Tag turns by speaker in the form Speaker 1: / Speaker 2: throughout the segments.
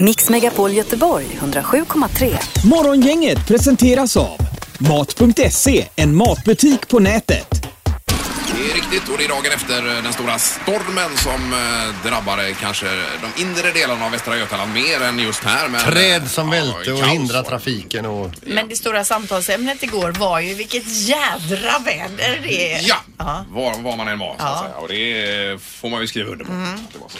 Speaker 1: Mix Megapol Göteborg 107,3.
Speaker 2: Morgongänget presenteras av Mat.se, en matbutik på nätet.
Speaker 3: Det är riktigt och det är dagen efter eh, den stora stormen som eh, drabbade kanske de inre delarna av Västra Götaland mer än just här. Men,
Speaker 4: Träd som
Speaker 3: ja,
Speaker 4: välte och
Speaker 3: kaos
Speaker 4: hindra
Speaker 3: var det.
Speaker 4: trafiken och...
Speaker 5: Men det stora samtalsämnet igår var ju vilket jädra väder det är.
Speaker 3: Ja,
Speaker 5: Ja.
Speaker 3: Var, var man än var så att
Speaker 5: Ja. Mm.
Speaker 3: säga. Och det eh, får man ju skriva under på. att Det var så.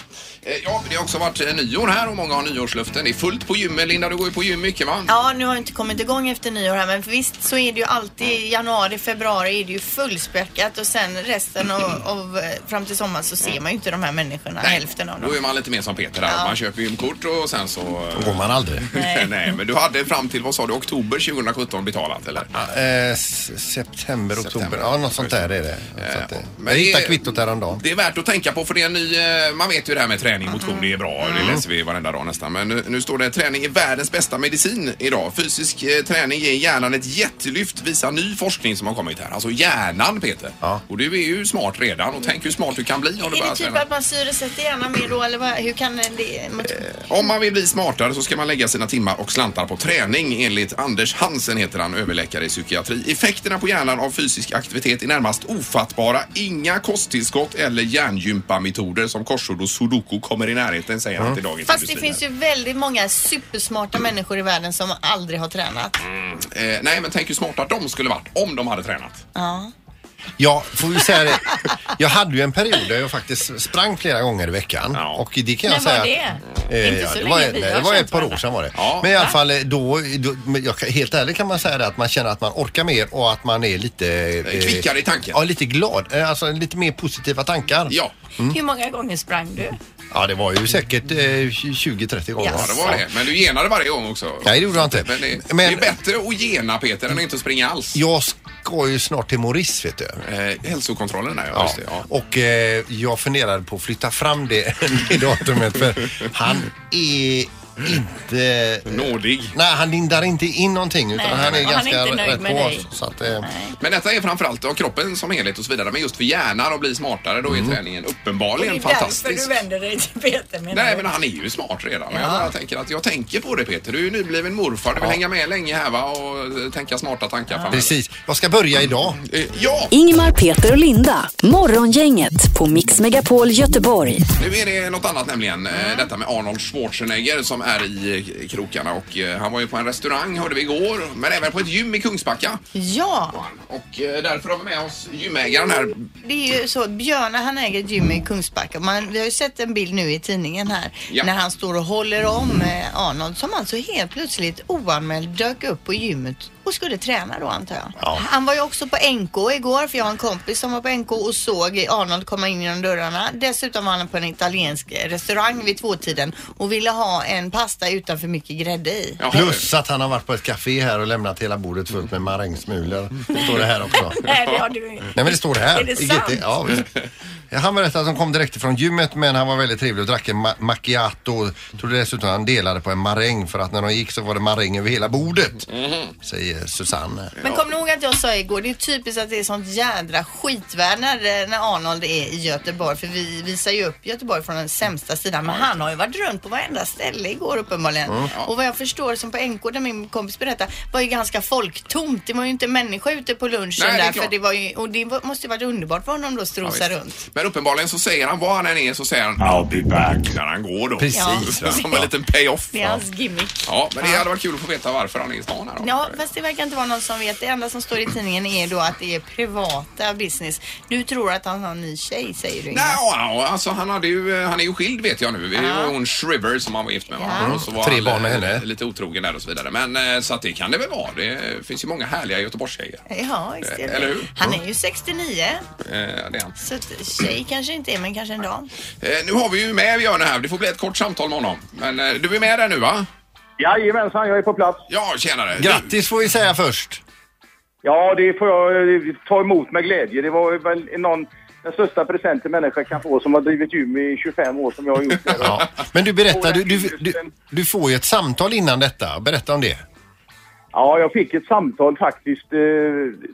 Speaker 3: Eh, Ja, det har också varit eh, nyår här och många har nyårslöften. Det är fullt på gymmet. Linda, du går ju på gym mycket va?
Speaker 5: Ja, nu har jag inte kommit igång efter nyår här men visst så är det ju alltid i januari, februari är det ju fullspäckat och sen resten av, av eh, fram till sommaren så ser man ju inte de här människorna, hälften av
Speaker 3: Då
Speaker 5: dem.
Speaker 3: är man lite mer som Peter där.
Speaker 5: Ja.
Speaker 3: Man köper gymkort och sen så... eh,
Speaker 4: Går man aldrig.
Speaker 3: Nej. men du hade fram till, vad sa du, oktober 2017 betalat eller?
Speaker 4: Eh, s- september, oktober. Ja, något sånt där är det. Så att, eh,
Speaker 3: men
Speaker 4: jag hittade
Speaker 3: det-
Speaker 4: kvittot häromdagen.
Speaker 3: Det är värt att tänka på för det är en ny, eh, man vet ju det här med träning
Speaker 5: Mhm.
Speaker 3: och motion, det är bra.
Speaker 5: Mm.
Speaker 3: Det läser vi varenda dag nästan. Men nu, nu står det träning är världens bästa medicin idag. Fysisk eh, träning ger hjärnan ett jättelyft visar ny forskning som har kommit här. Alltså hjärnan Peter.
Speaker 4: Ja.
Speaker 3: Och du är ju smart redan och tänk hur smart du kan bli om du
Speaker 5: Är
Speaker 3: börjar
Speaker 5: det typ
Speaker 3: träna.
Speaker 5: att man syresätter hjärnan mer då eller vad, hur kan
Speaker 3: Eh,
Speaker 5: det?
Speaker 3: Om man vill bli smartare så ska man lägga sina timmar och slantar på träning enligt Anders Hansen heter han, överläkare i psykiatri. Effekterna på hjärnan av fysisk aktivitet är närmast ofattbara. Inga kosttillskott eller hjärngympa-metoder som korsord och sudoku kommer i närheten säger
Speaker 4: Mm.
Speaker 3: han till Dagens
Speaker 5: Fast det
Speaker 3: Industri.
Speaker 5: finns ju väldigt många supersmarta människor i världen som aldrig har tränat.
Speaker 3: Eh, nej men tänk hur smarta de skulle varit om de hade tränat.
Speaker 5: Ja.
Speaker 4: Ja, får vi säga det. Jag hade ju en period där jag faktiskt sprang flera gånger i veckan.
Speaker 3: Ja.
Speaker 4: Och det kan
Speaker 5: När
Speaker 4: jag
Speaker 5: var
Speaker 4: säga...
Speaker 5: det?
Speaker 4: Eh,
Speaker 5: Inte
Speaker 4: ja,
Speaker 5: så
Speaker 4: det
Speaker 5: länge
Speaker 4: var,
Speaker 5: vi
Speaker 4: nej,
Speaker 5: har
Speaker 4: det var
Speaker 5: känt
Speaker 4: ett par år
Speaker 5: varandra.
Speaker 4: sedan var det.
Speaker 3: Ja.
Speaker 4: Men i alla fall eh, då, då men jag, kan- helt ärligt kan man säga det att man känner att man orkar mer och att man är lite... eh,
Speaker 3: Kvickare i tanken.
Speaker 4: Ja, lite glad. Eh, Alltså lite mer positiva tankar. Mm.
Speaker 3: Ja,
Speaker 5: Hur många gånger sprang du?
Speaker 4: Ja, det var ju säkert eh, 20-30 gånger.
Speaker 5: Ja,
Speaker 3: det var det. Men du genade varje gång också.
Speaker 4: Nej, det gjorde jag inte.
Speaker 3: Men det,
Speaker 4: Men-
Speaker 3: det är bättre att gena Peter än att inte springa alls.
Speaker 4: Jag ska ju snart till Maurice, vet du.
Speaker 3: Eh, hälsokontrollen där ja,
Speaker 4: Ja.
Speaker 3: Just det, ja.
Speaker 4: Och eh, jag funderade på att flytta fram det, det datumet för han är inte...
Speaker 3: Nådig.
Speaker 4: Nej, han lindar inte in någonting utan
Speaker 5: Nej,
Speaker 4: han är
Speaker 5: och han är
Speaker 4: ganska
Speaker 5: inte nöjd
Speaker 4: rätt
Speaker 5: med
Speaker 4: på
Speaker 5: dig.
Speaker 4: oss. Så att, eh,
Speaker 3: Men detta är framförallt av kroppen som helhet och så vidare. Men just för hjärnan att bli smartare då är
Speaker 4: Mm.
Speaker 3: träningen uppenbarligen fantastisk.
Speaker 5: vänder dig till Peter menar
Speaker 3: Nej men han är ju smart redan. Men Jag bara tänker att jag tänker på det Peter. Du är ju nybliven morfar. Du vill hänga med länge här va och eh, tänka smarta tankar framöver.
Speaker 4: precis. Jag ska börja idag.
Speaker 3: Eh, Ja,
Speaker 1: Ingmar, Peter och Linda. Morgongänget på Mix Megapol Göteborg.
Speaker 3: nu är det något annat nämligen. eh,
Speaker 5: Mm.
Speaker 3: Detta med Arnold Schwarzenegger som är i eh, krokarna och eh, han var ju på en restaurang hörde vi igår. Men även på ett gym i Kungsbacka.
Speaker 5: Ja,
Speaker 3: Och eh, därför har vi med oss gymägaren här.
Speaker 5: det är ju så. Björne han äger ett gym i Kungsbacka. Man, vi har ju sett en bild nu i tidningen här
Speaker 3: Ja.
Speaker 5: när han står och håller om eh, Arnold som alltså helt plötsligt oanmäld dök upp på gymmet och skulle träna då antar jag. Han var ju också på NK igår för jag har en kompis som var på NK och såg Arnold komma in genom dörrarna. Dessutom var han på en italiensk restaurang vid tvåtiden och ville ha en pasta utan för mycket grädde i.
Speaker 3: Jaha,
Speaker 4: Plus att han har varit på ett café här och lämnat hela bordet fullt med marängsmulor. Det står det här också.
Speaker 6: Nej, det har du inte.
Speaker 4: Nej men det står det här.
Speaker 6: Är det
Speaker 4: I
Speaker 6: sant?
Speaker 4: Ja, visst. han berättade att han kom direkt från gymmet men han var väldigt trevlig och drack en ma- macchiato. Tror dessutom han delade på en maräng för att när de gick så var det maräng över hela bordet.
Speaker 3: Mhm.
Speaker 4: Säger Susanne.
Speaker 5: Men kom ihåg att jag sa igår, det är typiskt att det är sånt jädra skitväder när, när Arnold är i Göteborg. För vi visar ju upp Göteborg från den sämsta sidan. Men han har ju varit runt på varenda ställe igår uppenbarligen.
Speaker 3: Mm.
Speaker 5: Och vad jag förstår, som på NK där min kompis berättade, var ju ganska folktomt. Det var ju inte en människa ute på lunchen
Speaker 3: Nej, det är
Speaker 5: där.
Speaker 3: klart.
Speaker 5: För det var ju, och det var- måste ju varit underbart för honom då att strosa
Speaker 3: visst.
Speaker 5: runt.
Speaker 3: Men uppenbarligen så säger han var han än är så säger han
Speaker 7: I'll be back.
Speaker 3: när han går då.
Speaker 4: Precis.
Speaker 5: Ja.
Speaker 3: Som en liten payoff.
Speaker 5: Det är hans gimmick.
Speaker 3: Ja, men det hade varit kul att få veta varför han är i stan här då.
Speaker 5: Ja, fast det verkar inte vara någon som vet. Det enda som står i tidningen är då att det är privata business. Du tror att han har en ny tjej, säger du Ingmar.
Speaker 3: Nej, ja, ja, alltså han, hade ju, eh, han är ju skild vet jag nu. Det var hon Shriver som han var gift med. va?
Speaker 5: Ja.
Speaker 3: Och så var
Speaker 4: Tre
Speaker 3: han,
Speaker 4: barn med
Speaker 3: eh,
Speaker 4: henne.
Speaker 3: Lite otrogen där och så vidare. Men eh, så att det kan det väl vara. Det finns ju många härliga Göteborgstjejer.
Speaker 5: Ja, visst är det.
Speaker 3: Eh, Eller hur?
Speaker 5: Han är ju 69,
Speaker 3: Eh, det är han.
Speaker 5: så att tjej kanske inte är, men kanske en dam.
Speaker 3: Eh, nu har vi ju med Björn här. Det får bli ett kort samtal med honom. Men eh, du är med där nu va?
Speaker 8: Jajamensan, jag är på plats.
Speaker 3: Ja, tjenare. Du-
Speaker 4: Grattis får vi säga först.
Speaker 8: Ja, det får jag eh, ta emot med glädje. Det var väl någon, den största presenten människa kan få som har drivit gym i 25 år som jag har gjort.
Speaker 4: Ja. Men du berättar, du, du, du, du får ju ett samtal innan detta. Berätta om det.
Speaker 8: Ja, jag fick ett samtal faktiskt eh,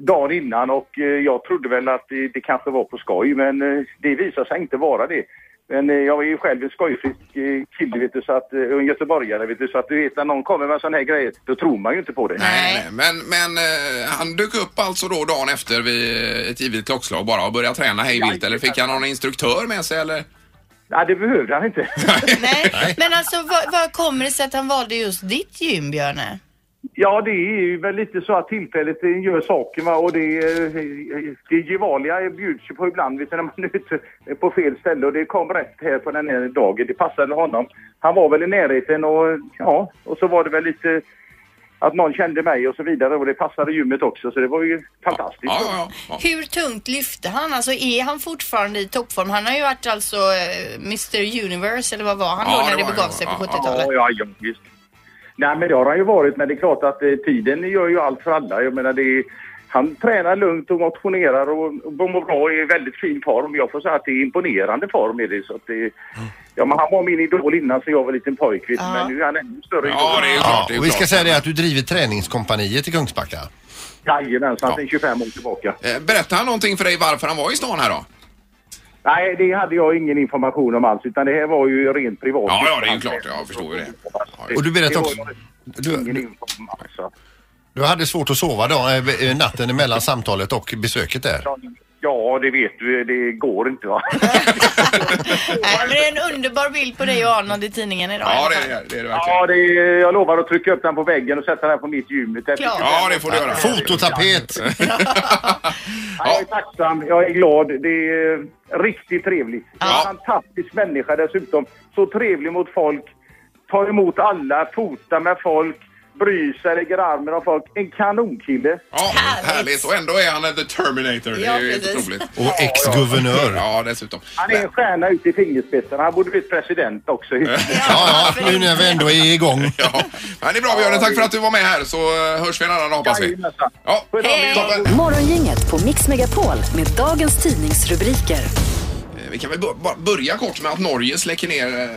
Speaker 8: dagen innan och eh, jag trodde väl att det, det kanske var på skoj men eh, det visade sig inte vara det. Men eh, jag är ju själv en skojfrisk eh, kille vet du, så att, eh, och en göteborgare vet du, så att du vet när någon kommer med sådana här grejer, då tror man ju inte på det.
Speaker 3: Nej, men, men eh, han dök upp alltså då dagen efter vid ett givet klockslag bara och började träna hej vilt eller fick han någon instruktör med sig eller?
Speaker 8: Nej, det behövde han inte.
Speaker 5: Nej. Men alltså vad, vad kommer det sig att han valde just ditt gym, Björne?
Speaker 8: Ja, det är ju väl lite så att tillfället eh, gör saken va? och det, eh, det Gevalia bjuds ju på ibland vet du, när man är ute på fel ställe och det kom rätt här på den här dagen. Det passade honom. Han var väl i närheten och ja, och så var det väl lite att någon kände mig och så vidare och det passade gymmet också så det var ju fantastiskt.
Speaker 3: Ja, ja, ja.
Speaker 5: Hur tungt lyfte han? Alltså är han fortfarande i toppform? Han har ju varit alltså eh, Mr Universe eller vad var han
Speaker 3: Ja,
Speaker 5: då
Speaker 3: det
Speaker 5: när det
Speaker 3: var
Speaker 5: begav
Speaker 3: han,
Speaker 5: sig på
Speaker 3: ja, ja.
Speaker 5: 70-talet?
Speaker 8: Ja, ja, ja, visst. Nej, men det har han ju varit, men det är klart att eh, tiden gör ju allt för alla. Jag menar, det är, han tränar lugnt och motionerar och, och mår bra och är i väldigt fin form. Jag får säga att det är imponerande form är det. Så att det ja, men han var min idol innan så jag var liten pojk, vet du,
Speaker 5: Ja.
Speaker 8: men nu är han ännu större idol.
Speaker 3: Ja, det är ju klart.
Speaker 4: Ja,
Speaker 3: det är ju
Speaker 4: och vi ska
Speaker 3: klart.
Speaker 4: säga det att du driver träningskompaniet i Kungsbacka.
Speaker 8: Jajamensan, sen 25 år tillbaka.
Speaker 3: Eh, Berättade han någonting för dig varför han var i stan här då?
Speaker 8: Nej, det hade jag ingen information om alls, utan det här var ju rent privat.
Speaker 3: Ja, ja, det är ju klart. Jag förstår ju det. Ja,
Speaker 4: Och du berättade
Speaker 8: var
Speaker 4: också-
Speaker 8: jag
Speaker 4: du-
Speaker 8: ingen
Speaker 4: du-
Speaker 8: info om alls. va.
Speaker 4: Du hade svårt att sova då, eh, eh, natten mellan samtalet och besöket där.
Speaker 8: Ja, det vet du, det går inte va.
Speaker 5: Nej, men det är en underbar bild på dig och Arnold i tidningen idag.
Speaker 3: ja det, är, det är det verkligen.
Speaker 8: Ja, det är, jag lovar att trycka upp den på väggen och sätta den på mitt gym. Det är-
Speaker 5: Klart.
Speaker 3: Ja, det får du göra.
Speaker 4: Fototapet!
Speaker 8: Jag är tacksam, jag är glad. Det är eh, riktigt trevligt.
Speaker 3: Ja.
Speaker 8: En fantastisk människa dessutom. Så trevlig mot folk. Tar emot alla, fotar med folk, bryr sig, lägger armen om folk. En kanonkille.
Speaker 3: Ja,
Speaker 5: Härligt.
Speaker 3: härligt. Och ändå är han eh, the Terminator. Det är
Speaker 5: Ja,
Speaker 3: ju helt
Speaker 5: precis.
Speaker 3: otroligt.
Speaker 4: Och ex-guvernör.
Speaker 3: Ja, dessutom.
Speaker 8: Han är en typ. stjärna ut i fingerspetsarna. Han borde blivit president också.
Speaker 4: Ja,
Speaker 5: varför
Speaker 4: ja, nu
Speaker 5: inte?
Speaker 4: när vi ändå är igång.
Speaker 3: Ja, men det är bra Björn. Tack för att du var med här så eh, hörs vi en annan dag hoppas vi.
Speaker 8: Jajamensan.
Speaker 3: Ja,
Speaker 5: Hej.
Speaker 3: toppen.
Speaker 1: Morgongänget på Mix Megapol med dagens tidningsrubriker.
Speaker 3: Eh, Vi kan väl bo- bara börja kort med att Norge släcker ner eh,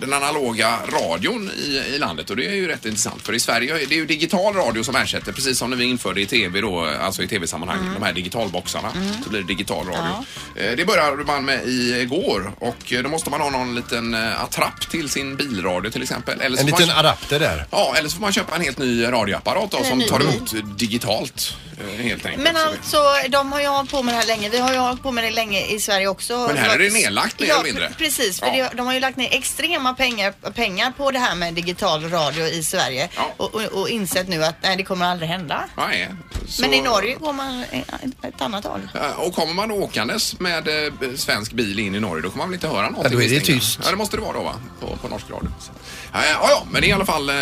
Speaker 3: den analoga radion i, i landet och det är ju rätt intressant för i Sverige är det ju digital radio som ersätter precis som när vi införde i tv då, eh, alltså i tv-sammanhang,
Speaker 5: Mm.
Speaker 3: de här digitalboxarna. Så blir det digital radio. Eh, Det började man med igår och eh, då måste man ha någon liten eh, attrapp till sin bilradio till exempel. Eller så
Speaker 4: En
Speaker 3: får man
Speaker 4: liten
Speaker 3: kö-
Speaker 4: adapter där.
Speaker 3: Ja, eller så får man köpa en helt ny radioapparat då,
Speaker 5: Eller
Speaker 3: som
Speaker 5: ny
Speaker 3: tar
Speaker 5: bil.
Speaker 3: emot digitalt eh, helt enkelt.
Speaker 5: Men
Speaker 3: Så det-
Speaker 5: alltså, de har ju hållit på med det här länge. Vi har ju hållit på med det länge i Sverige också.
Speaker 3: Men här är det
Speaker 5: var-
Speaker 3: nedlagt mer
Speaker 5: ja,
Speaker 3: eller mindre.
Speaker 5: pre- precis. För
Speaker 3: Ja.
Speaker 5: det, de har ju lagt ner extrema pengar, pengar på det här med digital radio i Sverige.
Speaker 3: Ja.
Speaker 5: Och, och, och insett nu att nej, det kommer aldrig hända.
Speaker 3: Nej, så-
Speaker 5: Men i Norge går man eh, ett annat håll.
Speaker 3: Eh, Och kommer man då åkandes med eh, b- svensk bil in i Norge då kommer man väl inte höra någonting?
Speaker 4: Ja, då är det
Speaker 3: misstänker jag.
Speaker 4: tyst.
Speaker 3: Ja, det måste det vara då va? På, på norsk radio. Så. Eh, Ja, ja, men det är i alla fall eh,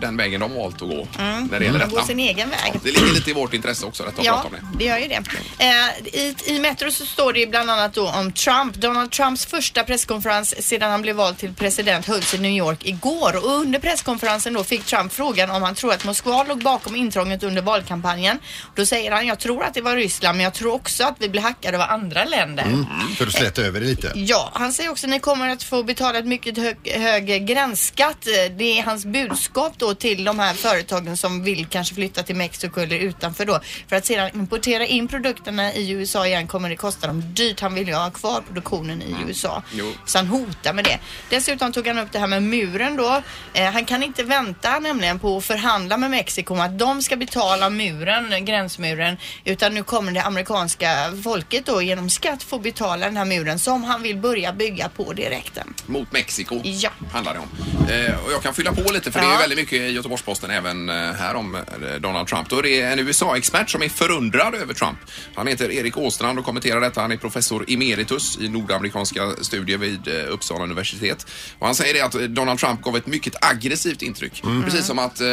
Speaker 3: den vägen de valt att gå när det gäller
Speaker 5: Gå
Speaker 3: detta.
Speaker 5: Mm. sin egen väg.
Speaker 3: Ja, det ligger lite i vårt intresse också detta att
Speaker 5: Ja,
Speaker 3: prata om det.
Speaker 5: det gör ju det. Eh, i, I Metro så står det ju bland annat då om Trump. Donald Trumps första presskonferens sedan han blev vald till president hölls i New York igår och under presskonferensen då fick Trump frågan om han tror att Moskva låg bakom intrånget under valkampanjen. Då säger han, jag tror att det var Ryssland men jag tror också att vi blir hackade av andra länder.
Speaker 4: Mm,
Speaker 3: Mm.
Speaker 4: För att släta över det lite.
Speaker 5: Ja, han säger också ni kommer att få betala ett mycket hög, hög gränsskatt. Eh, Det är hans budskap då till de här företagen som vill kanske flytta till Mexiko eller utanför då. För att sedan importera in produkterna i USA igen kommer det kosta dem dyrt. Han vill ju ha kvar produktionen i USA.
Speaker 3: Jo.
Speaker 5: Så han hotar med det. Dessutom tog han upp det här med muren då. Eh, han kan inte vänta nämligen på att förhandla med Mexiko om att de ska betala muren, eh, gränsmuren, utan nu kommer det amerikanska folket då genom skatt få betala den här muren som han vill börja bygga på direkten.
Speaker 3: Mot Mexiko
Speaker 5: Ja.
Speaker 3: handlar det om. Eh, och jag kan fylla på lite för det är
Speaker 5: Ja.
Speaker 3: ju väldigt mycket i Göteborgs-Posten även eh, här om eh, Donald Trump. Då är det en USA-expert som är förundrad över Trump. Han heter Erik Åstrand och kommenterar detta. Han är professor emeritus i nordamerikanska studier vid eh, Uppsala universitet. Och han säger det att eh, Donald Trump gav ett mycket aggressivt intryck.
Speaker 5: Mm.
Speaker 3: Precis som att eh,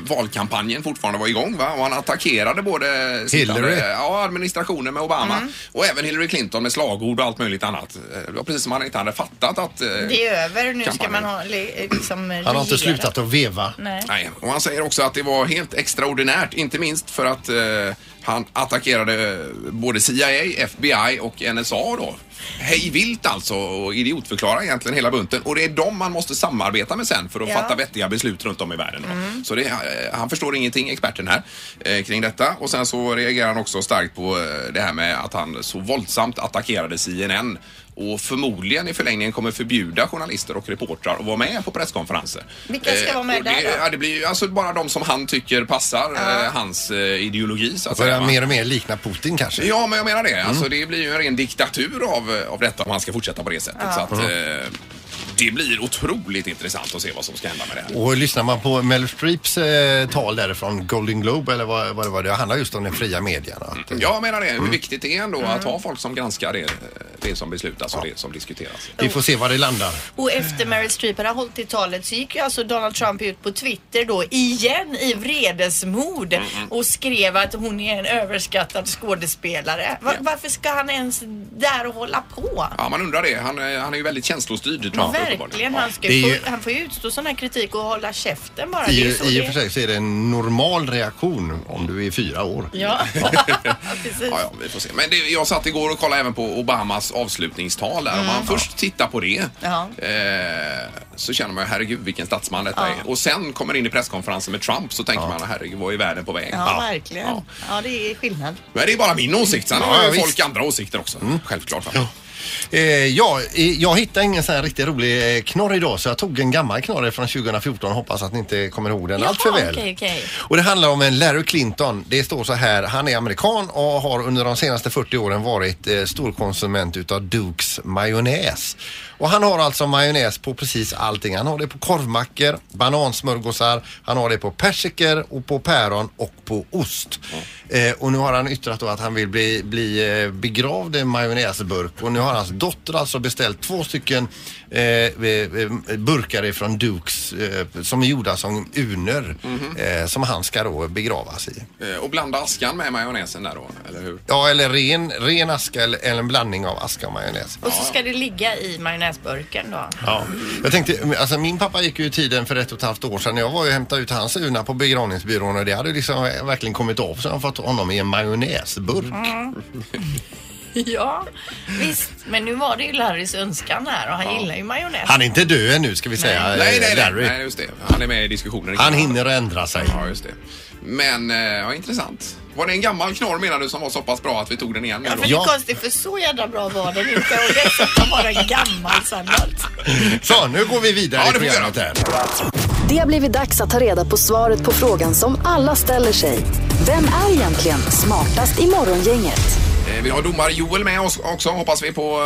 Speaker 3: valkampanjen fortfarande var igång va? och han attackerade både
Speaker 4: Hillary.
Speaker 3: ja, administrationen med Obama
Speaker 5: Mm.
Speaker 3: och även Hillary Clinton med slagord och allt möjligt annat. Eh, Det var precis som han inte hade fattat att eh,
Speaker 5: Det är över, nu ska
Speaker 3: Kampanjen.
Speaker 5: man ha li- liksom
Speaker 4: Han har inte
Speaker 5: regera.
Speaker 4: slutat att veva.
Speaker 5: Nej.
Speaker 3: Nej, och han säger också att det var helt extraordinärt, inte minst för att eh, han attackerade eh, både CIA, FBI och NSA då. Hej vilt alltså och idiotförklara egentligen hela bunten. Och det är dem man måste samarbeta med sen för att
Speaker 5: Ja. Mm.
Speaker 3: fatta vettiga beslut runt om i världen. då. Så det, eh, han förstår ingenting, experten här, eh, kring detta. Och sen så reagerar han också starkt på eh, det här med att han så våldsamt attackerade CNN och förmodligen i förlängningen kommer förbjuda journalister och reportrar att vara med på presskonferenser. Eh,
Speaker 5: Vilka ska vara med
Speaker 3: och det,
Speaker 5: där då?
Speaker 3: Ja, det blir ju alltså bara de som han tycker passar eh, hans eh, ideologi så att säga.
Speaker 4: Börjar
Speaker 3: va?
Speaker 4: Alltså, mer Mm. och mer likna Putin kanske.
Speaker 3: Ja, men jag menar det. Alltså, det blir ju en ren diktatur av, eh, av detta om han ska fortsätta på det sättet. Så
Speaker 4: Mm.
Speaker 3: att, eh, det blir otroligt intressant att se vad som ska hända med det här.
Speaker 4: Mm. Och lyssnar man på Mel Streeps eh, tal därifrån Golden Globe eller vad, vad det var, det handlar just om den fria medien. Att, eh,
Speaker 3: Jag menar det, hur viktigt det är ändå att ha folk som granskar det, eh, det som beslutas och det som diskuteras.
Speaker 4: Vi får se var det landar.
Speaker 5: Och efter Meryl Streep hade hållit i talet så gick ju alltså Donald Trump ut på Twitter då igen i vredesmod
Speaker 4: Mm,
Speaker 5: och skrev att hon är en överskattad skådespelare. Va-
Speaker 3: Ja.
Speaker 5: Varför ska han ens där och hålla på?
Speaker 3: Ja, man undrar det. Han, eh, han är ju väldigt känslostyrd. Trump, uppenbarligen.
Speaker 5: Verkligen,
Speaker 3: Ja.
Speaker 5: han, ska
Speaker 4: Det är
Speaker 5: ju...
Speaker 4: ju-
Speaker 5: få, han får ju utstå sån här kritik och hålla käften bara.
Speaker 4: I,
Speaker 5: det är ju så
Speaker 4: I
Speaker 5: det
Speaker 4: och
Speaker 5: är.
Speaker 4: för sig så är det en normal reaktion om du är fyra år.
Speaker 5: Ja, precis.
Speaker 3: Ja, ja, vi får se. Men det, jag satt igår och kollade även på Obamas avslutningstal där. Om man först tittar på det
Speaker 5: Ja.
Speaker 3: eh, så känner man ju herregud vilken statsman detta är. Och sen kommer in i presskonferensen med Trump så tänker man herregud vad är världen på väg?
Speaker 5: Ja, verkligen.
Speaker 3: Ja.
Speaker 5: Ja. det är skillnad.
Speaker 3: Men det är bara min åsikt. Sen
Speaker 4: Ja,
Speaker 3: har ju
Speaker 4: visst.
Speaker 3: folk andra åsikter också. Mm, Självklart. Va?
Speaker 4: alltså. Eh, ja, eh, jag hittade ingen sån här riktigt rolig eh, knorr idag så jag tog en gammal knorr från 2014 hoppas att ni inte kommer ihåg den allt för väl.
Speaker 5: okej, okej.
Speaker 4: Och det handlar om en Larry Clinton. Det står så här, han är amerikan och har under de senaste 40 åren varit eh, storkonsument utav Dukes majonnäs. Och han har alltså majonnäs på precis allting. Han har det på korvmackor, banansmörgåsar, han har det på persikor och på päron och på ost. Eh, och nu har han yttrat då att han vill bli, bli eh, begravd i en majonnäsburk och nu har hans dotter alltså beställt två stycken eh, eh, burkar ifrån Dukes eh, som är gjorda som urnor eh, som han ska då begravas i.
Speaker 3: Eh, Och blanda askan med majonnäsen där då, eller hur?
Speaker 4: Ja, eller ren, ren aska eller, eller en blandning av aska och majonnäs.
Speaker 5: Och så ska det ligga i majonnäsburken då.
Speaker 4: Ja. Jag tänkte, alltså min pappa gick ju i tiden för ett och ett halvt år sedan. Jag var ju och hämtade ut hans urna på begravningsbyrån och det hade liksom verkligen kommit av så jag har fått honom i en majonnäsburk.
Speaker 3: Mm.
Speaker 5: Ja, visst. Men nu var det ju Larrys önskan här och han gillar ju majonnäs.
Speaker 4: Han är inte död ännu ska vi säga,
Speaker 3: nej,
Speaker 4: eh,
Speaker 3: nej, nej,
Speaker 4: Larry.
Speaker 3: nej, just det. Han är med i diskussionen.
Speaker 4: Han hinner att ändra sig.
Speaker 3: Ja, just det. Men, eh, ja, intressant. Var det en gammal knorr menar du som var så pass bra att vi tog den igen nu
Speaker 5: Ja,
Speaker 3: då?
Speaker 5: för
Speaker 4: Ja.
Speaker 5: det är konstigt för så jävla bra var den inte och dessutom var den gammal sannolikt.
Speaker 4: Så, nu går vi vidare
Speaker 3: Ja,
Speaker 4: i
Speaker 3: det får vi
Speaker 4: programmet
Speaker 3: göra.
Speaker 4: här.
Speaker 1: Det har blivit dags att ta reda på svaret på frågan som alla ställer sig. Vem är egentligen smartast i morgongänget?
Speaker 3: Eh, Vi har domare Joel med oss också, hoppas vi, på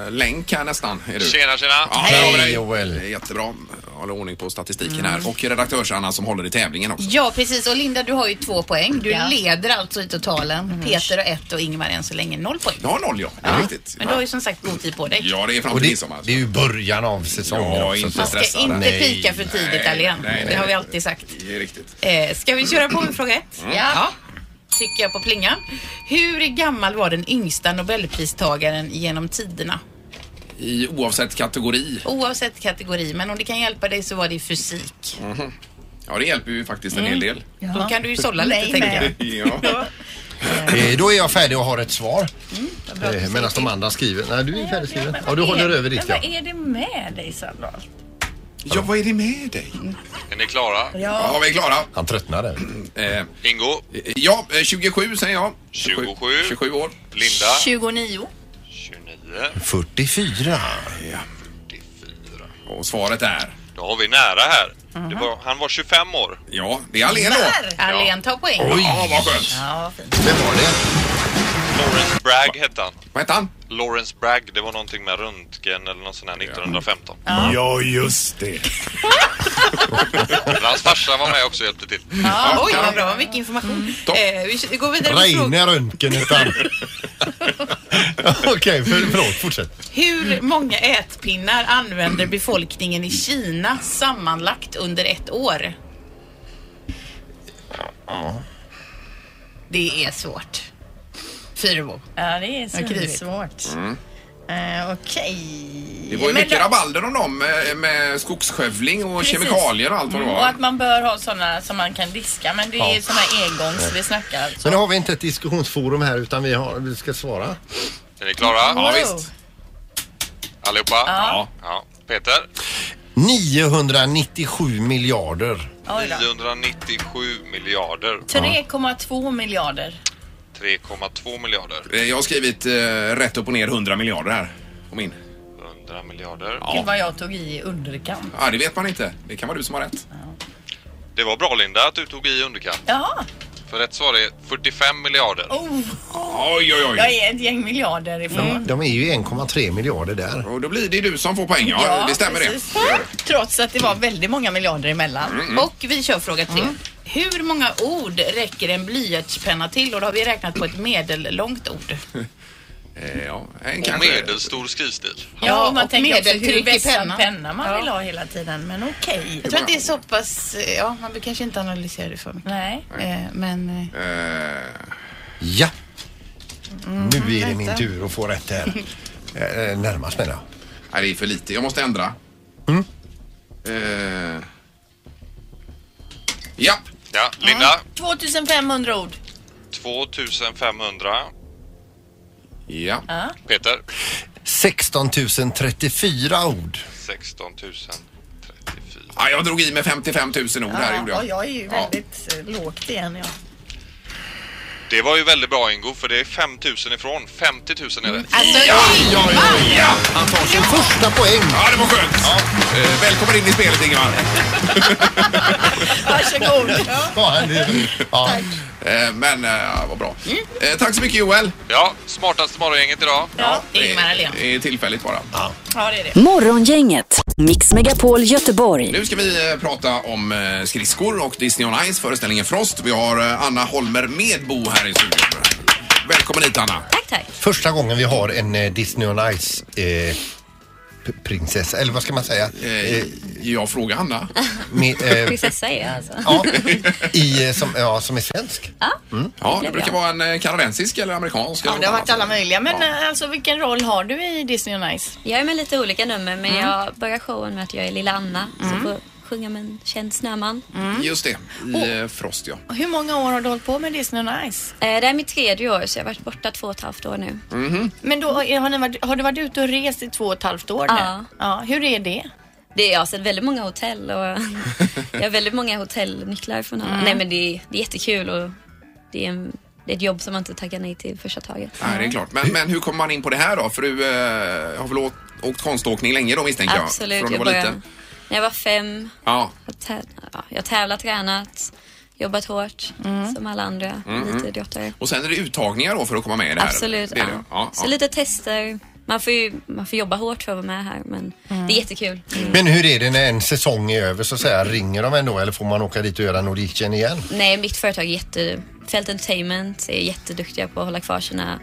Speaker 3: eh, länk här nästan. Är du?
Speaker 6: Tjena, tjena.
Speaker 3: Ja, hej Mm.
Speaker 4: Hej,
Speaker 3: dig.
Speaker 4: Joel.
Speaker 3: Eh, Jättebra. Håller ordning på statistiken här. Och redaktörs-Anna som håller i tävlingen också.
Speaker 7: Ja, precis. Och Linda, du har ju två poäng. Du
Speaker 5: Ja. Mm.
Speaker 7: leder alltså i totalen. Peter har ett och Ingmar än så länge noll poäng.
Speaker 3: Du har noll ja, det är riktigt.
Speaker 7: Men du har ju som sagt god tid på dig.
Speaker 3: Ja, det är fram
Speaker 4: Och
Speaker 3: till
Speaker 4: det,
Speaker 3: midsommar. alltså.
Speaker 4: det är ju början av säsongen
Speaker 3: Ja,
Speaker 4: också.
Speaker 3: inte
Speaker 4: så-
Speaker 7: Man ska
Speaker 3: stressad.
Speaker 7: inte
Speaker 4: Nej.
Speaker 7: pika för tidigt,
Speaker 3: Nej,
Speaker 7: Alén.
Speaker 3: nej, nej.
Speaker 7: Det har vi alltid sagt.
Speaker 3: Det är riktigt.
Speaker 7: Eh, ska vi köra på med fråga ett?
Speaker 3: Mm.
Speaker 7: Ja. Tycker jag på plingan. Hur gammal var den yngsta nobelpristagaren genom tiderna?
Speaker 3: I oavsett kategori.
Speaker 7: Oavsett kategori, men om det kan hjälpa dig så var det i fysik.
Speaker 6: Mhm.
Speaker 3: Ja, det hjälper ju faktiskt en hel
Speaker 6: Mm.
Speaker 3: del.
Speaker 7: Då kan du ju sålla
Speaker 5: Nej,
Speaker 7: lite, tänker jag.
Speaker 5: nej.
Speaker 3: Ja.
Speaker 4: Eh, Då är jag färdig och har ett svar.
Speaker 7: Mm, bra att du
Speaker 4: Eh, Medan de
Speaker 7: säger
Speaker 4: andra skriver. Nej, du är färdigskriven.
Speaker 5: men
Speaker 4: Ja, du
Speaker 5: vad
Speaker 4: håller
Speaker 5: är-
Speaker 4: över
Speaker 5: men
Speaker 4: ditt ja.
Speaker 5: Vad är det med dig Sandholt?
Speaker 3: ja, vad är det med dig?
Speaker 6: Är ni klara?
Speaker 3: Ja, vi är klara.
Speaker 4: eh, Han tröttnade.
Speaker 3: Eh,
Speaker 6: Ingo,
Speaker 3: ja, eh, 27 säger jag.
Speaker 6: 27.
Speaker 3: 27 år.
Speaker 6: Linda,
Speaker 5: 29.
Speaker 6: 29,
Speaker 4: 44.
Speaker 3: Ja.
Speaker 6: 44.
Speaker 3: Och svaret är?
Speaker 6: Då har vi nära här. Det var, han var 25 år.
Speaker 3: Ja, det är Alén då.
Speaker 7: Alén tar poäng.
Speaker 3: Ja, vad skönt.
Speaker 4: Vem var det?
Speaker 6: Lawrence Bragg hette han.
Speaker 3: Vad hette han?
Speaker 6: Lawrence Bragg, det var någonting med röntgen eller något sånt här 1915.
Speaker 4: Ja, just det.
Speaker 6: Men hans farsa var med också och hjälpte till.
Speaker 7: Ja, oj, vad bra. Mycket information.
Speaker 3: Topp.
Speaker 7: Eh, vi vi går vidare med fråga.
Speaker 4: Reine Röntgen hette han. Okej, för, förlåt. Fortsätt.
Speaker 7: Hur många ätpinnar använder befolkningen i Kina sammanlagt under ett år? Det är svårt. Fyrbo.
Speaker 5: Ja, det är
Speaker 7: Jag har
Speaker 5: svårt. Eh, Okej.
Speaker 3: Mm. Det var ju
Speaker 5: Men
Speaker 3: mycket
Speaker 5: då-
Speaker 3: rabalder om dem med, med skogsskövling och
Speaker 5: Precis. Mm,
Speaker 3: kemikalier och allt vad det
Speaker 5: Och
Speaker 3: var.
Speaker 5: att man bör ha sådana som man kan diska. Men det är ju sådana engångs vi snackar alltså.
Speaker 4: Men nu har vi inte ett diskussionsforum här utan vi, har, vi ska svara.
Speaker 6: Är ni klara?
Speaker 3: Ja, visst.
Speaker 6: Allihopa? Ja. Peter?
Speaker 4: 997 miljarder.
Speaker 5: Oj då.
Speaker 6: 997 miljarder.
Speaker 5: 3,2 miljarder.
Speaker 6: 3,2 miljarder.
Speaker 3: Eh, Jag har skrivit eh, rätt upp och ner 100 miljarder här. kom in.
Speaker 6: 100 miljarder.
Speaker 7: Gud vad jag tog i i underkant.
Speaker 3: Ja, det vet man inte. Det kan vara du som har rätt.
Speaker 6: Det var bra Linda att du tog i underkant.
Speaker 7: Jaha,
Speaker 6: För rätt svar är 45 miljarder.
Speaker 7: oh,
Speaker 3: Oj, oj,
Speaker 7: jag
Speaker 3: oj.
Speaker 7: är ett gäng miljarder ifrån.
Speaker 4: De är ju 1,3 miljarder där.
Speaker 3: Mm. Och då blir det du som får poäng. Ja, det stämmer
Speaker 7: precis.
Speaker 3: det.
Speaker 7: Trots att det var väldigt många miljarder emellan. Och vi kör fråga tre. Hur många ord räcker en blyertspenna till? Och då har vi räknat på ett medellångt ord.
Speaker 3: Eh, Ja, en
Speaker 6: Och
Speaker 3: kanske.
Speaker 6: medelstor skrivstil.
Speaker 7: Ja, och man
Speaker 9: och
Speaker 7: tänker också
Speaker 9: medel
Speaker 7: hur
Speaker 9: till
Speaker 7: vässad
Speaker 9: penna.
Speaker 7: penna. man
Speaker 9: Ja.
Speaker 7: vill ha hela tiden. Men okej.
Speaker 5: Jag tror att det är så pass, ja man vill kanske inte analysera det för mycket.
Speaker 7: Nej.
Speaker 5: Eh, Men eh,
Speaker 3: Eh,
Speaker 4: Ja.
Speaker 3: Mm.
Speaker 4: Nu är det min tur att få rätt här. Eh, eh, Närmast menar jag. Mm.
Speaker 3: Nej, det är för lite. Jag måste ändra. Eh, japp,
Speaker 6: Ja, Linda.
Speaker 9: 2500 ord.
Speaker 6: 2500.
Speaker 3: ja.
Speaker 6: Peter.
Speaker 4: 16 034 ord.
Speaker 6: 16 034.
Speaker 3: ja. Jag drog i med 55 000 ord här gjorde jag.
Speaker 7: är ju väldigt
Speaker 5: eh,
Speaker 7: ja. lågt igen. Ja.
Speaker 6: Det var ju väldigt bra Ingo för det är 5 000 ifrån. 50 000 är
Speaker 5: Mm.
Speaker 6: det.
Speaker 7: Alltså,
Speaker 3: ja, ja, ja.
Speaker 4: Han tar sin första poäng.
Speaker 3: ja det var skönt. Eh, välkommen in i spelet Ingemar.
Speaker 7: varsågod.
Speaker 4: Ja, han är- ja.
Speaker 3: Eh, men eh, vad bra.
Speaker 7: Mm.
Speaker 3: Eh, tack så mycket Joel.
Speaker 6: Ja, smartaste morgongänget idag.
Speaker 7: Ja,
Speaker 3: Det
Speaker 7: Ingmar Ahlén.
Speaker 3: är- det är tillfälligt bara.
Speaker 7: Ja, det är det.
Speaker 1: Morgongänget, Mix Megapol Göteborg.
Speaker 3: Nu ska vi eh, prata om eh, skridskor och Disney on Ice, föreställningen Frost. Vi har eh, Anna Holmer Medbo här i studion. Välkommen hit Anna.
Speaker 9: Tack, tack.
Speaker 4: Första gången vi har en eh, Disney on Ice eh, p- prinsessa, eller vad ska man säga?
Speaker 3: Eh, jag frågar Anna.
Speaker 4: Med, eh,
Speaker 9: Prinsessa är jag alltså.
Speaker 4: ja, i, eh, som, ja, som är svensk. Mm.
Speaker 3: Ja, det brukar vara en eh, kanadensisk eller amerikansk.
Speaker 5: ja,
Speaker 3: eller
Speaker 5: det har
Speaker 3: något
Speaker 5: varit
Speaker 3: annat.
Speaker 5: alla möjliga. Men
Speaker 3: Ja.
Speaker 5: eh, alltså vilken roll har du i Disney on Ice? Mm.
Speaker 9: Jag är med lite olika nummer men jag börjar showen med att jag är lilla Anna. Så får jag sjunga med en känd snöman.
Speaker 3: Just det, i eh, Frost ja.
Speaker 5: Mm. Hur många år har du hållit på med Disney on Ice?
Speaker 9: Eh, Det här är mitt tredje år så jag har varit borta två och ett halvt år nu.
Speaker 3: Mhm.
Speaker 5: Men då, eh, har, har ni varit, har du varit ute och rest i två och ett halvt år nu?
Speaker 9: Ja.
Speaker 5: ja. Hur är det?
Speaker 9: Det, jag har sett väldigt många hotell och jag har väldigt många hotellnycklar från alla.
Speaker 5: Mm.
Speaker 9: Nej men det, det är jättekul och det är, en, det är ett jobb som man inte taggar nej till första taget.
Speaker 3: Nej, det är klart. Men, men hur kommer man in på det här då? För du eh, har väl åkt, åkt konståkning länge då misstänker jag?
Speaker 9: Absolut.
Speaker 3: Från du
Speaker 9: Jag
Speaker 3: var
Speaker 9: började,
Speaker 3: liten.
Speaker 9: när jag var fem,
Speaker 3: Ja,
Speaker 9: jag, tä- ja, jag tävlat, tränat, jobbat hårt som alla andra
Speaker 3: Mm,
Speaker 9: elitidrottare.
Speaker 3: Mhm. och sen är det uttagningar då för att komma med i det här?
Speaker 9: Absolut.
Speaker 3: Det är
Speaker 9: ja.
Speaker 3: det. Ja, ja.
Speaker 9: Så lite tester. Man får ju man får jobba hårt för att vara med här men det är jättekul.
Speaker 4: Men hur är det när en säsong är över så att säga, ringer de ändå eller får man åka dit och göra en audition igen?
Speaker 9: Nej, mitt företag är jätte... Fält Entertainment är jätteduktiga på att hålla kvar sina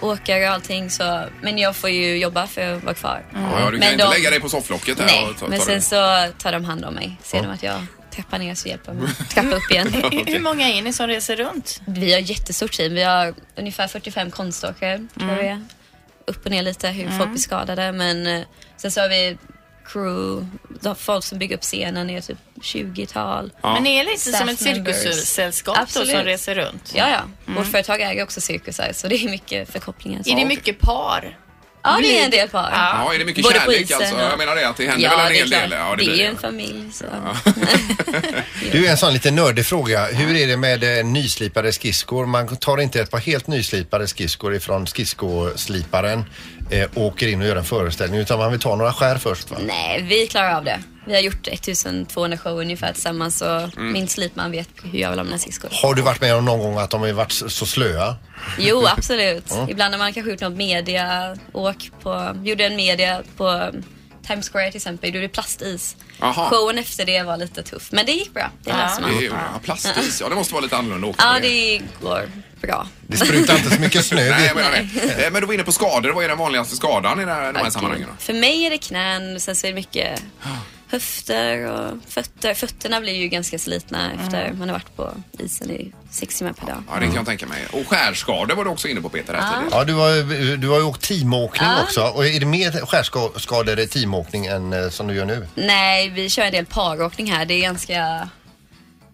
Speaker 9: åkare och allting så... Men jag får ju jobba för att vara kvar.
Speaker 3: Ja, ja, du kan
Speaker 9: Men
Speaker 3: inte
Speaker 9: de-
Speaker 3: lägga dig på sofflocket här
Speaker 9: Nej,
Speaker 3: och ta, ta
Speaker 9: men
Speaker 3: det.
Speaker 9: sen så tar de hand om mig. Ser de att jag trappar ner så hjälper de mig att trappa upp igen.
Speaker 5: Hur, hur många är ni som reser runt?
Speaker 9: Vi har ett jättestort team. Vi har ungefär 45 konståkare, tror
Speaker 5: Mm.
Speaker 9: jag det är. Upp och ner lite hur folk blir skadade. Men eh, sen så har vi crew, de- folk som bygger upp scenen är typ 20-tal.
Speaker 3: Ja.
Speaker 5: Men ni är lite som
Speaker 9: Staff
Speaker 5: ett
Speaker 9: members.
Speaker 5: cirkussällskap då som
Speaker 9: Absolut.
Speaker 5: reser runt?
Speaker 9: Ja, ja. Vårt företag äger också cirkusar så det är mycket förkopplingar.
Speaker 5: Mm. Är det mycket par?
Speaker 9: Ja, det är en del par.
Speaker 3: Ja, är det mycket
Speaker 9: Både på
Speaker 3: kärlek
Speaker 9: isen
Speaker 3: alltså?
Speaker 9: och-
Speaker 3: Jag menar det att det händer
Speaker 9: Ja,
Speaker 3: väl en
Speaker 9: det är
Speaker 3: hel
Speaker 9: klart.
Speaker 3: del? Ja,
Speaker 9: det är ju
Speaker 3: blir
Speaker 9: en familj så.
Speaker 4: Du är en sån lite nördig fråga. Hur är det med eh, nyslipade skridskor? Man tar inte ett par helt nyslipade skridskor ifrån skridskosliparen eh, och åker in och gör en föreställning utan man vill ta några skär först va?
Speaker 9: Nej, Eh, vi klarar av det. Vi har gjort 1200 show ungefär tillsammans så
Speaker 3: Mm.
Speaker 9: min slipman vet hur jag vill ha mina skridskor.
Speaker 4: Har du varit med om någon gång att de har varit så så slöa?
Speaker 9: Jo, absolut. Ibland har man kanske gjort något media, åk på, gjorde en media på Times Square till exempel, gjorde plastis.
Speaker 3: Aha.
Speaker 9: Showen efter det var lite tuff, men det gick bra. Det löste man.
Speaker 3: Det är, ja, plastis, ja det måste vara lite annorlunda att åka
Speaker 9: Ja,
Speaker 3: med.
Speaker 9: det går bra.
Speaker 4: Det sprutar inte så mycket
Speaker 3: Nej,
Speaker 4: snö. vet
Speaker 3: jag menar det. Eh, Men du var inne på skador. Vad är den vanligaste skadan i det här- de här sammanhangen? då?
Speaker 9: För mig är det knän, sen så är det mycket höfter och fötter. Fötterna blir ju ganska slitna efter man har varit på isen i sex timmar per dag. Ah.
Speaker 3: Ja, det kan jag tänka mig. Och skärskador var du också inne på Peter. Här tidigare.
Speaker 4: Ja, du har, ju- du har ju åkt teamåkning också. Och är det mer skärskador i teamåkning än eh, som du gör nu?
Speaker 9: Nej, vi kör en del paråkning här. Det är ganska,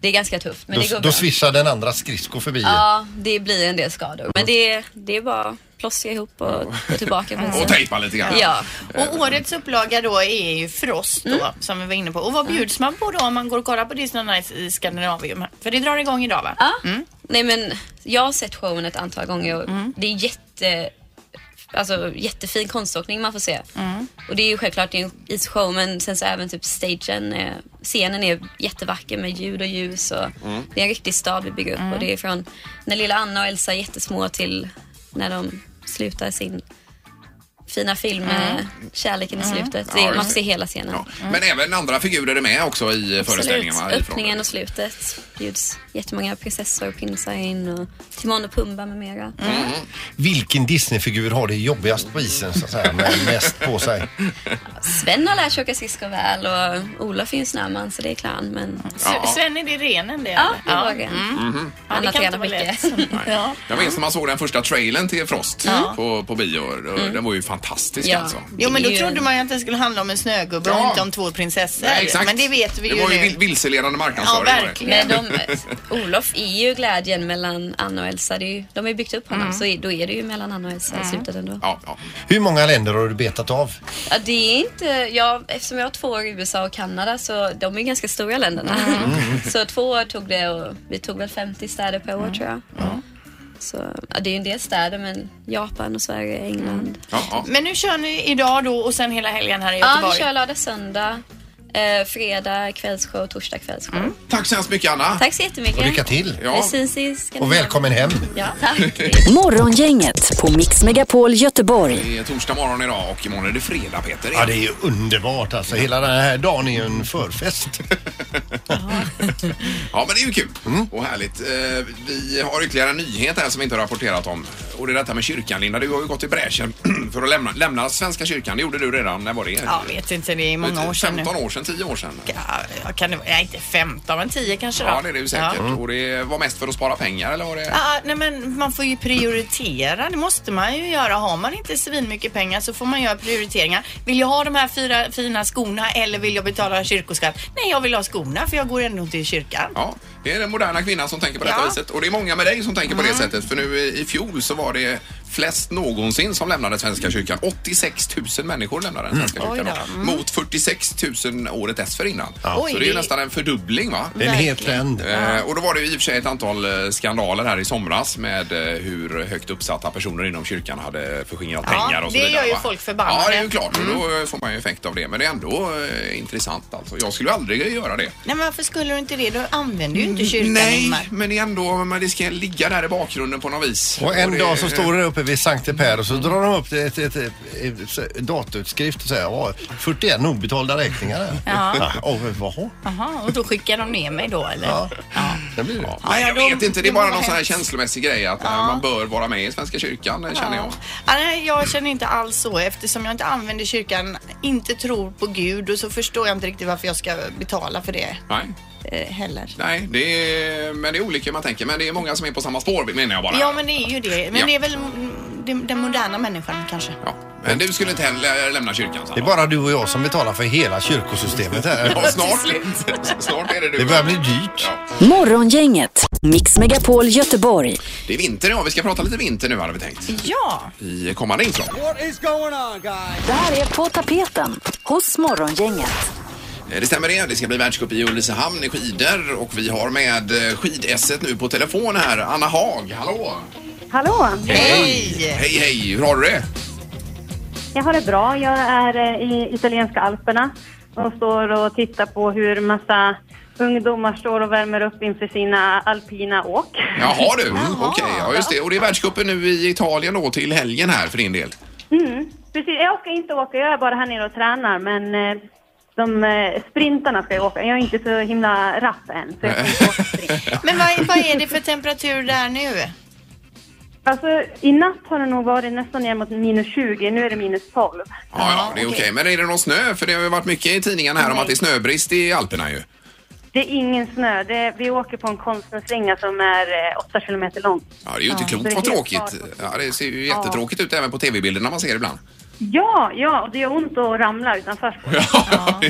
Speaker 9: det är ganska tufft, men det
Speaker 4: då
Speaker 9: går
Speaker 4: då
Speaker 9: bra.
Speaker 4: swishar den andra skridskor förbi.
Speaker 9: Ja, det blir en del skador. Men det, det är bara att plåstra ihop och gå tillbaka. på
Speaker 3: Och
Speaker 9: isen.
Speaker 3: tejpa lite grann.
Speaker 9: Ja.
Speaker 5: Och årets upplaga då är ju Frost då,
Speaker 3: Mm.
Speaker 5: som vi var inne på. Och vad bjuds man på då om man går och kollar på Disney on Ice i Skandinavium? För det drar igång idag va? Mm.
Speaker 9: ja. Nej men jag har sett showen ett antal gånger och det är jätte alltså, jättefin konståkning man får se.
Speaker 10: Mm.
Speaker 9: Och det är ju självklart det är en isshow men sen så även typ stagen, är, scenen är jättevacker med ljud och ljus och
Speaker 3: Mm.
Speaker 9: det är en riktig stad vi bygger upp och det är från när lilla Anna och Elsa är jättesmå till när de slutar sin fina film med kärleken i slutet. Det,
Speaker 3: Mm. Ja,
Speaker 9: är-
Speaker 3: just
Speaker 9: man
Speaker 3: det.
Speaker 9: ser hela scenen.
Speaker 3: Ja. Men även andra figurer är med också i föreställningen va?
Speaker 9: Absolut.
Speaker 3: Ifrån-
Speaker 9: Öppningen och slutet bjuds jättemånga prinsessor och prinsar in och Timon och Pumba med mera.
Speaker 3: Mm.
Speaker 4: Vilken Disneyfigur har det jobbigast på isen så att säga, med mest på sig?
Speaker 9: Sven har lärt sig åka skridskor väl och Olof är ju en snöman så det är clown men
Speaker 3: Ja.
Speaker 7: Sven, är det renen det?
Speaker 9: ja,
Speaker 7: eller?
Speaker 9: det var det.
Speaker 5: Mm.
Speaker 9: Han har
Speaker 7: det kan inte
Speaker 9: tränat
Speaker 7: vara
Speaker 9: mycket.
Speaker 7: lätt. Ja.
Speaker 3: Mhm. Jag minns när man såg den första trailern till Frost på, på bio. Och Den var ju fantastisk
Speaker 9: Ja.
Speaker 3: alltså.
Speaker 5: Jo, men då
Speaker 9: Det är ju
Speaker 5: trodde
Speaker 9: en-
Speaker 5: man ju att det skulle handla om en snögubbe och
Speaker 3: Ja.
Speaker 5: inte om två prinsessor.
Speaker 3: Nej, exakt.
Speaker 5: Men det vet vi ju
Speaker 3: Det var ju
Speaker 5: nu.
Speaker 3: vil- vilseledande marknadsföring.
Speaker 5: Ja,
Speaker 3: var det.
Speaker 5: verkligen.
Speaker 9: Men de, Olof är ju glädjen mellan Anna och Elsa. Det är ju, de har ju byggt upp honom så är- då är det ju mellan Anna och Elsa i slutet ändå.
Speaker 3: Ja, ja.
Speaker 4: Hur många länder har du betat av?
Speaker 9: Ja, det är inte, jag, eftersom jag har två år i USA och Kanada så de är ju ganska stora länderna. Så två år tog det och vi tog väl 50 städer per år tror jag. Så ja, det är ju en del städer men Japan och Sverige, England.
Speaker 3: Ja, ja.
Speaker 5: Men nu kör ni idag då och sen hela helgen här i
Speaker 9: Ja,
Speaker 5: Göteborg.
Speaker 9: vi kör lördag, söndag, eh, fredag kvällsshow, torsdag kvällsshow.
Speaker 3: Tack så hemskt mycket Anna.
Speaker 9: Tack så jättemycket.
Speaker 4: Och lycka till.
Speaker 3: Ja.
Speaker 9: Vi syns i Skandinavien.
Speaker 4: Och välkommen hem.
Speaker 9: Ja, tack.
Speaker 1: Morgongänget på Mix Megapol Göteborg.
Speaker 3: Det är torsdag morgon idag och imorgon är det fredag Peter.
Speaker 4: Ja, det är ju underbart alltså. Hela den här dagen är ju en förfest.
Speaker 3: Ja, men det är ju kul
Speaker 4: Mm.
Speaker 3: och härligt. Eh, Vi har ytterligare en nyhet här som vi inte har rapporterat om. Och det är detta med kyrkan Linda. Du har ju gått i bräschen för att lämna, lämna Svenska kyrkan. Det gjorde du redan, när var det?
Speaker 5: Ja, vet inte, det är många år sedan nu.
Speaker 3: 15 år sedan, 10 år sedan.
Speaker 5: Ja, kan det vara? Nej, inte 15 men 10 kanske då.
Speaker 3: Ja, det är det ju säkert.
Speaker 4: Mm.
Speaker 5: Ja.
Speaker 3: Och det var mest för att spara pengar eller var det?
Speaker 5: Ja, nej men man får ju prioritera, det måste man ju göra. Har man inte svinmycket mycket pengar så får man göra prioriteringar. Vill jag ha de här fyra fina skorna eller vill jag betala kyrkoskatt? Nej, jag vill ha skorna för jag går ändå till kyrkan.
Speaker 3: Ja, det är den moderna kvinnan som tänker på detta
Speaker 5: Ja.
Speaker 3: viset. Och det är många med dig som tänker på det sättet. För nu eh, i i fjol så var det flest någonsin som lämnade Svenska kyrkan. 86 000 människor lämnade den Svenska
Speaker 5: Mm. Oj
Speaker 3: kyrkan.
Speaker 5: då.
Speaker 3: då. Mot 46 000 året dessförinnan.
Speaker 5: Oj,
Speaker 3: Så det är ju
Speaker 5: det-
Speaker 3: nästan en fördubbling va?
Speaker 4: Det är en
Speaker 5: Verkligen.
Speaker 4: het trend.
Speaker 3: Eh, Och då var det ju i och för sig ett antal eh, skandaler här i somras med eh, hur högt uppsatta personer inom kyrkan hade förskingrat
Speaker 5: Ja,
Speaker 3: pengar och så
Speaker 5: det
Speaker 3: vidare.
Speaker 5: gör ju
Speaker 3: va?
Speaker 5: folk förbannade. Mm.
Speaker 3: Ja, det är ju klart. Och då eh, får man ju effekt av det. Men det är ändå eh, intressant alltså. Jag skulle aldrig göra det.
Speaker 5: Nej, men varför skulle du inte det? Då använder du ju inte kyrkan,
Speaker 3: Nej,
Speaker 5: Ingmar.
Speaker 3: men det är ändå, men det ska ligga där i bakgrunden på något vis.
Speaker 4: Och en
Speaker 3: det-
Speaker 4: dag så står det uppe vid Sankte Per och så drar de upp ett, ett, ett, ett datautskrift och säger ja, 41 obetalda räkningar här. Ja. och, vaha?
Speaker 5: Jaha, och då skickar de ner mig då eller?
Speaker 4: Ja. Det blir det.
Speaker 3: Nej, jag
Speaker 5: Ja, ja,
Speaker 3: vet
Speaker 5: då-
Speaker 3: inte, det är
Speaker 5: då
Speaker 3: bara
Speaker 5: var
Speaker 3: någon sån här
Speaker 5: hemskt.
Speaker 3: känslomässig grej att eh, man bör vara med i Svenska kyrkan, eh, känner jag.
Speaker 5: Ja, nej, jag känner inte alls så eftersom jag inte använder kyrkan, inte tror på Gud och så förstår jag inte riktigt varför jag ska betala för det
Speaker 3: Nej,
Speaker 5: eh, heller.
Speaker 3: nej det är, men det är olika hur man tänker. Men det är många som är på samma spår menar jag bara.
Speaker 5: Ja men det är ju det. Men
Speaker 3: Ja.
Speaker 5: det är väl mm, den, den moderna människan kanske.
Speaker 3: Ja, men du skulle inte heller lämna kyrkan? Sandra?
Speaker 4: Det är bara du och jag som betalar för hela kyrkosystemet här.
Speaker 3: Ja, snart. snart är det du.
Speaker 4: Det börjar bli dyrt.
Speaker 3: Ja.
Speaker 1: Morgongänget, Mix Megapol Göteborg.
Speaker 3: Det är vinter idag. Vi ska prata lite vinter nu hade vi tänkt.
Speaker 5: Ja,
Speaker 3: I kommande inslag.
Speaker 1: Det här är På tapeten hos Morgongänget.
Speaker 3: Eh, Det stämmer det. Det ska bli världscup i Ulricehamn i skidor och vi har med eh, skidesset nu på telefon här. Anna Haag, hallå!
Speaker 10: Hallå!
Speaker 3: Hej! Hej, hej! Hur har du det?
Speaker 10: Jag har det bra. Jag är eh, i italienska alperna och står och tittar på hur massa ungdomar står och värmer upp inför sina alpina åk.
Speaker 3: Jaha du, okej. Ja, just det. Och det är världscupen nu i Italien då till helgen här för din del.
Speaker 10: Mm. Precis. Jag ska inte åka, jag är bara här nere och tränar, men eh, de eh, sprintarna ska jag åka. Jag är inte så himla rapp än, så jag ska inte åka sprint.
Speaker 5: men vad, vad är det för temperatur där nu?
Speaker 10: Alltså, i natt har det nog varit nästan ner mot minus 20, nu är det minus 12.
Speaker 3: Ja, ja, det är okej. Men är det någon snö? För det har ju varit mycket i tidningen här om att det är snöbrist i Alperna ju.
Speaker 10: Det är ingen snö, det, vi åker på en konstnärsringa som är eh, 8 kilometer lång.
Speaker 3: Ja, det är ju inte
Speaker 10: det
Speaker 3: klokt
Speaker 10: är
Speaker 3: vad
Speaker 10: helt
Speaker 3: tråkigt.
Speaker 10: klart.
Speaker 3: Ja, det ser ju jättetråkigt ut även på tv-bilderna man ser ibland.
Speaker 10: Ja, ja, och det gör ont att ramla utanför.
Speaker 3: Ja.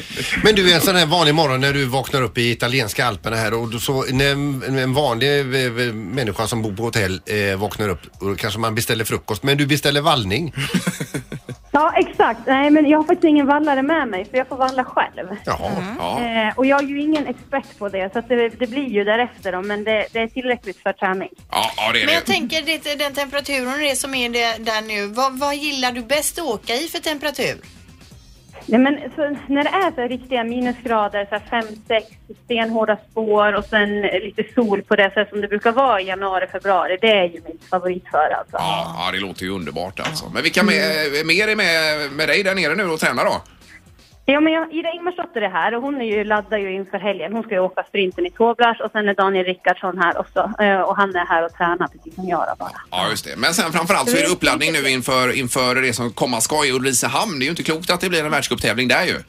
Speaker 4: Men du, en sån här vanlig morgon när du vaknar upp i italienska alperna här och du så, när en en vanlig eh, eh, människa som bor på hotell eh, vaknar upp och då kanske man beställer frukost, men du beställer vallning.
Speaker 10: Ja, exakt. Nej, men jag har faktiskt ingen vallare med mig, för jag får valla själv.
Speaker 3: Jaha. Ja.
Speaker 10: Eh, och jag är ju ingen expert på det, så att det, det blir ju därefter då, men det, det är tillräckligt för träning.
Speaker 3: Ja, ja, det är
Speaker 5: Men jag
Speaker 3: det.
Speaker 5: tänker det, den temperaturen det som är det, där nu. Vad, vad gillar du bäst att åka i för temperatur?
Speaker 10: Nej, men så, när det är så här riktiga minusgrader, så här 5-6, stenhårda spår och sen lite sol på det sätt som det brukar vara i januari, februari, det är ju mitt favoritföre alltså.
Speaker 3: Ja, ja, det låter ju underbart alltså. Men vilka mer, mer är med, med dig där nere nu och tränar då?
Speaker 10: Ja, men jag, Ida Ingmarsdotter är här och hon är ju, laddar ju inför helgen. Hon ska ju åka sprinten i Toblach och sen är Daniel Rickardsson här också eh, och han är här och tränar precis som jag då bara.
Speaker 3: Ja, just det. Men sen framförallt så är det uppladdning nu inför, inför det som komma ska i Ulricehamn. Det är ju inte klokt att det blir en världscuptävling där ju.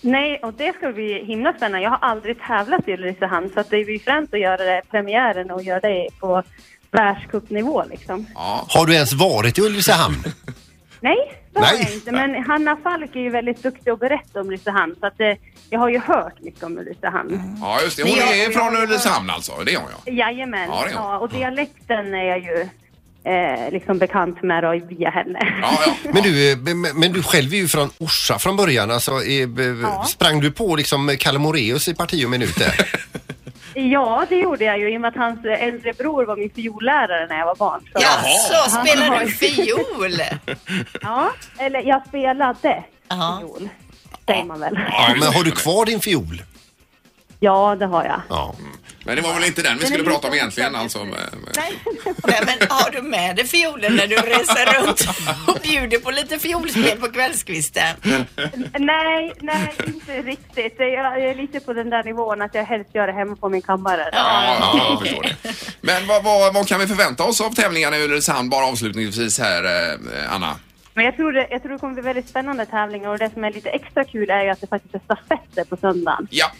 Speaker 10: Nej, och det ska bli himla spännande. Jag har aldrig tävlat i Ulricehamn så att det blir främst att göra det, premiären och göra det på världscupnivå liksom.
Speaker 3: Ja.
Speaker 4: Har du ens varit i Ulricehamn?
Speaker 10: Nej, det har
Speaker 4: Nej.
Speaker 10: jag inte. Men Hanna Falk är ju väldigt duktig att berätta om Ulricehamn så att eh, jag har ju hört mycket om Ulricehamn.
Speaker 3: Ja, just det. Hon
Speaker 10: Ja,
Speaker 3: är
Speaker 10: och
Speaker 3: från
Speaker 10: jag-
Speaker 3: Ulricehamn alltså. Det är hon ja.
Speaker 10: Jajamän,
Speaker 3: Ja,
Speaker 10: ja,
Speaker 3: det är hon.
Speaker 10: och dialekten är jag ju eh, liksom bekant med då, via henne.
Speaker 3: Ja, ja.
Speaker 4: Men du, eh, men- men du själv är ju från Orsa från början. Alltså, eh, b- Sprang du på liksom Kalle Moraeus i parti och minuter?
Speaker 10: Ja, det gjorde jag ju i och med att hans äldre bror var min fiollärare när jag var barn. Så.
Speaker 5: Jaså,
Speaker 10: Han
Speaker 5: spelar
Speaker 10: har-
Speaker 5: du fiol?
Speaker 10: Ja, eller jag spelade
Speaker 5: Ja.
Speaker 10: fiol, säger man väl.
Speaker 3: Ja,
Speaker 4: Men har du kvar din fiol?
Speaker 10: Ja, det har jag.
Speaker 4: Ja.
Speaker 3: Mm. Men det var väl inte den vi skulle prata om egentligen alltså. Nej.
Speaker 5: Nej, men har du med dig fiolen när du reser runt och bjuder på lite fiolspel på kvällskvisten?
Speaker 10: Nej, nej, inte riktigt. Jag är lite på den där nivån att jag helst gör det hemma på min kammare.
Speaker 3: Ja, ja, jag förstår det. Men vad, vad, vad kan vi förvänta oss av tävlingarna i Ulricehamn bara avslutningsvis här, eh, Anna?
Speaker 10: Men jag tror, det, jag tror det kommer bli väldigt spännande tävlingar och det som är lite extra kul är ju att det faktiskt är stafetter på söndagen.
Speaker 3: Ja,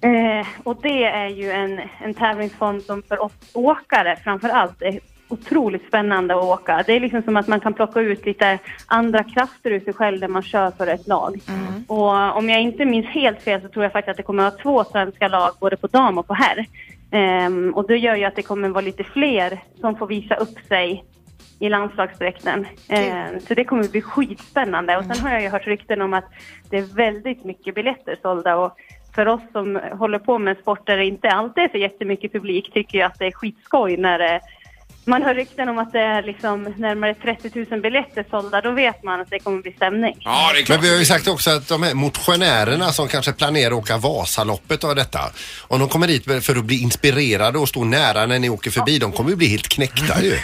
Speaker 10: Eh, och det är ju en, en tävlingsform som för oss åkare framför allt är otroligt spännande att åka. Det är liksom som att man kan plocka ut lite andra krafter ur sig själv när man kör för ett lag. Mm. Och eh, om jag inte minns helt fel så tror jag faktiskt att det kommer att vara två svenska lag både på dam och på herr. Ehm, och det gör ju att det kommer vara lite fler som får visa upp sig i landslagsdräkten. Ehm, så det kommer att bli skitspännande. Och sen har jag ju hört rykten om att det är väldigt mycket biljetter sålda och för oss som håller på med sport där det inte alltid är så jättemycket publik tycker jag att det är skitskoj när det, man hör rykten om att det är liksom närmare 30 000 biljetter sålda. Då vet man att det kommer bli stämning.
Speaker 3: ja det är klart.
Speaker 4: Men vi har ju sagt också att de här motionärerna som kanske planerar att åka Vasaloppet och detta. Om de kommer dit för att bli inspirerade och stå nära när ni åker förbi, de kommer ju bli helt knäckta ju.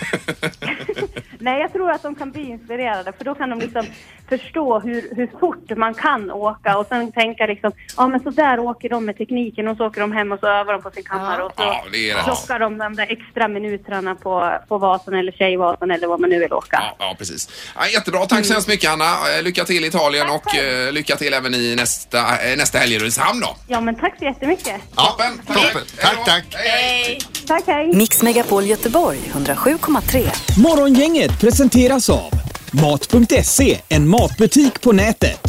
Speaker 10: Nej, jag tror att de kan bli inspirerade för då kan de liksom förstå hur, hur fort man kan åka och sen tänka liksom, ja men så där åker de med tekniken och så åker de hem och så övar de på sin kammare och så
Speaker 3: Ja, det är rätt.
Speaker 10: plockar de de där extra minuterna på, på Vasan eller Tjejvasan eller vad man nu vill åka.
Speaker 3: Ja, ja, precis. Ja, jättebra. Tack så hemskt mycket, Anna. Eh, Lycka till i Italien och eh, lycka till även i nästa, eh, nästa helg i Ulricehamn då.
Speaker 10: Ja, men tack så jättemycket.
Speaker 3: Toppen!
Speaker 4: toppen. Tack,
Speaker 3: Hej då.
Speaker 4: tack.
Speaker 3: Hej, hej.
Speaker 10: Tack, hej.
Speaker 1: Mix Megapol Göteborg 107,3.
Speaker 2: Morgongänget presenteras av Mat.se, en matbutik på nätet.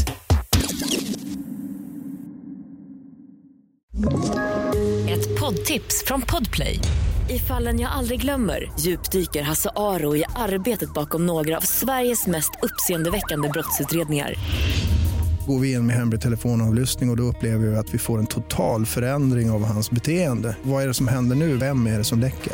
Speaker 11: Ett poddtips från Podplay. I fallen jag aldrig glömmer djupdyker Hasse Aro i arbetet bakom några av Sveriges mest uppseendeväckande brottsutredningar.
Speaker 12: Går vi in med hemlig telefonavlyssning och, och då upplever vi att vi får en total förändring av hans beteende. Vad är det som händer nu? Vem är det som läcker?